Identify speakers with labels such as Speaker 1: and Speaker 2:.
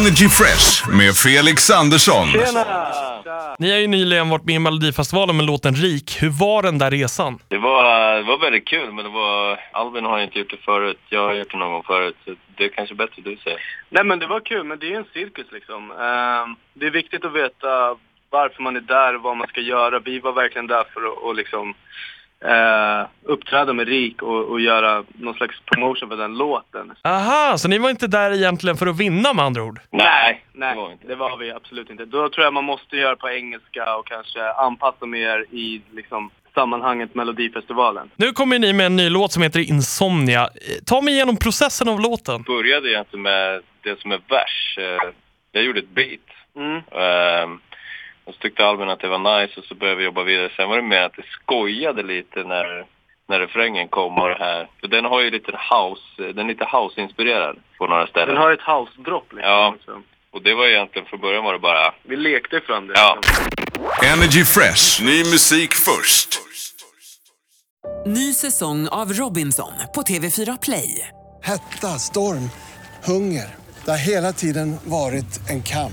Speaker 1: Energy Fresh med Felix Andersson.
Speaker 2: Ni har ju nyligen varit med i Melodifestivalen med låten Rik. Hur var den där resan?
Speaker 3: Det var, det var väldigt kul, men det var, Albin har inte gjort det förut. Jag har gjort det någon gång förut, så det är kanske bättre du säger. Nej, men det var kul, men det är en cirkus liksom. Ehm, det är viktigt att veta varför man är där och vad man ska göra. Vi var verkligen där för att och liksom, eh, uppträda med RIK och, och göra någon slags promotion för den låten.
Speaker 2: Aha, så ni var inte där egentligen för att vinna med andra ord?
Speaker 3: Nej, nej, det var, vi absolut inte. Då tror jag man måste göra på engelska och kanske anpassa mer i liksom, sammanhanget Melodifestivalen.
Speaker 2: Nu kommer ni med en ny låt som heter Insomnia. Eh, Ta mig igenom processen av låten.
Speaker 3: började egentligen med det som är vers. Eh, Jag gjorde ett beat.
Speaker 4: Mm.
Speaker 3: Ehm, och så tyckte Albin att det var nice och så började vi jobba vidare. Sen var det mer att det skojade lite när, när refrängen kom och det här. För den har ju lite house, den är lite house-inspirerad på några ställen.
Speaker 4: Den har ett house-dropp liksom.
Speaker 3: Ja. Och det var egentligen, från början var det bara...
Speaker 4: Vi lekte fram det.
Speaker 3: Ja.
Speaker 1: Energy Fresh, ny musik först.
Speaker 5: Ny säsong av Robinson på TV4 Play.
Speaker 6: Hetta, storm, hunger. Det har hela tiden varit en kamp.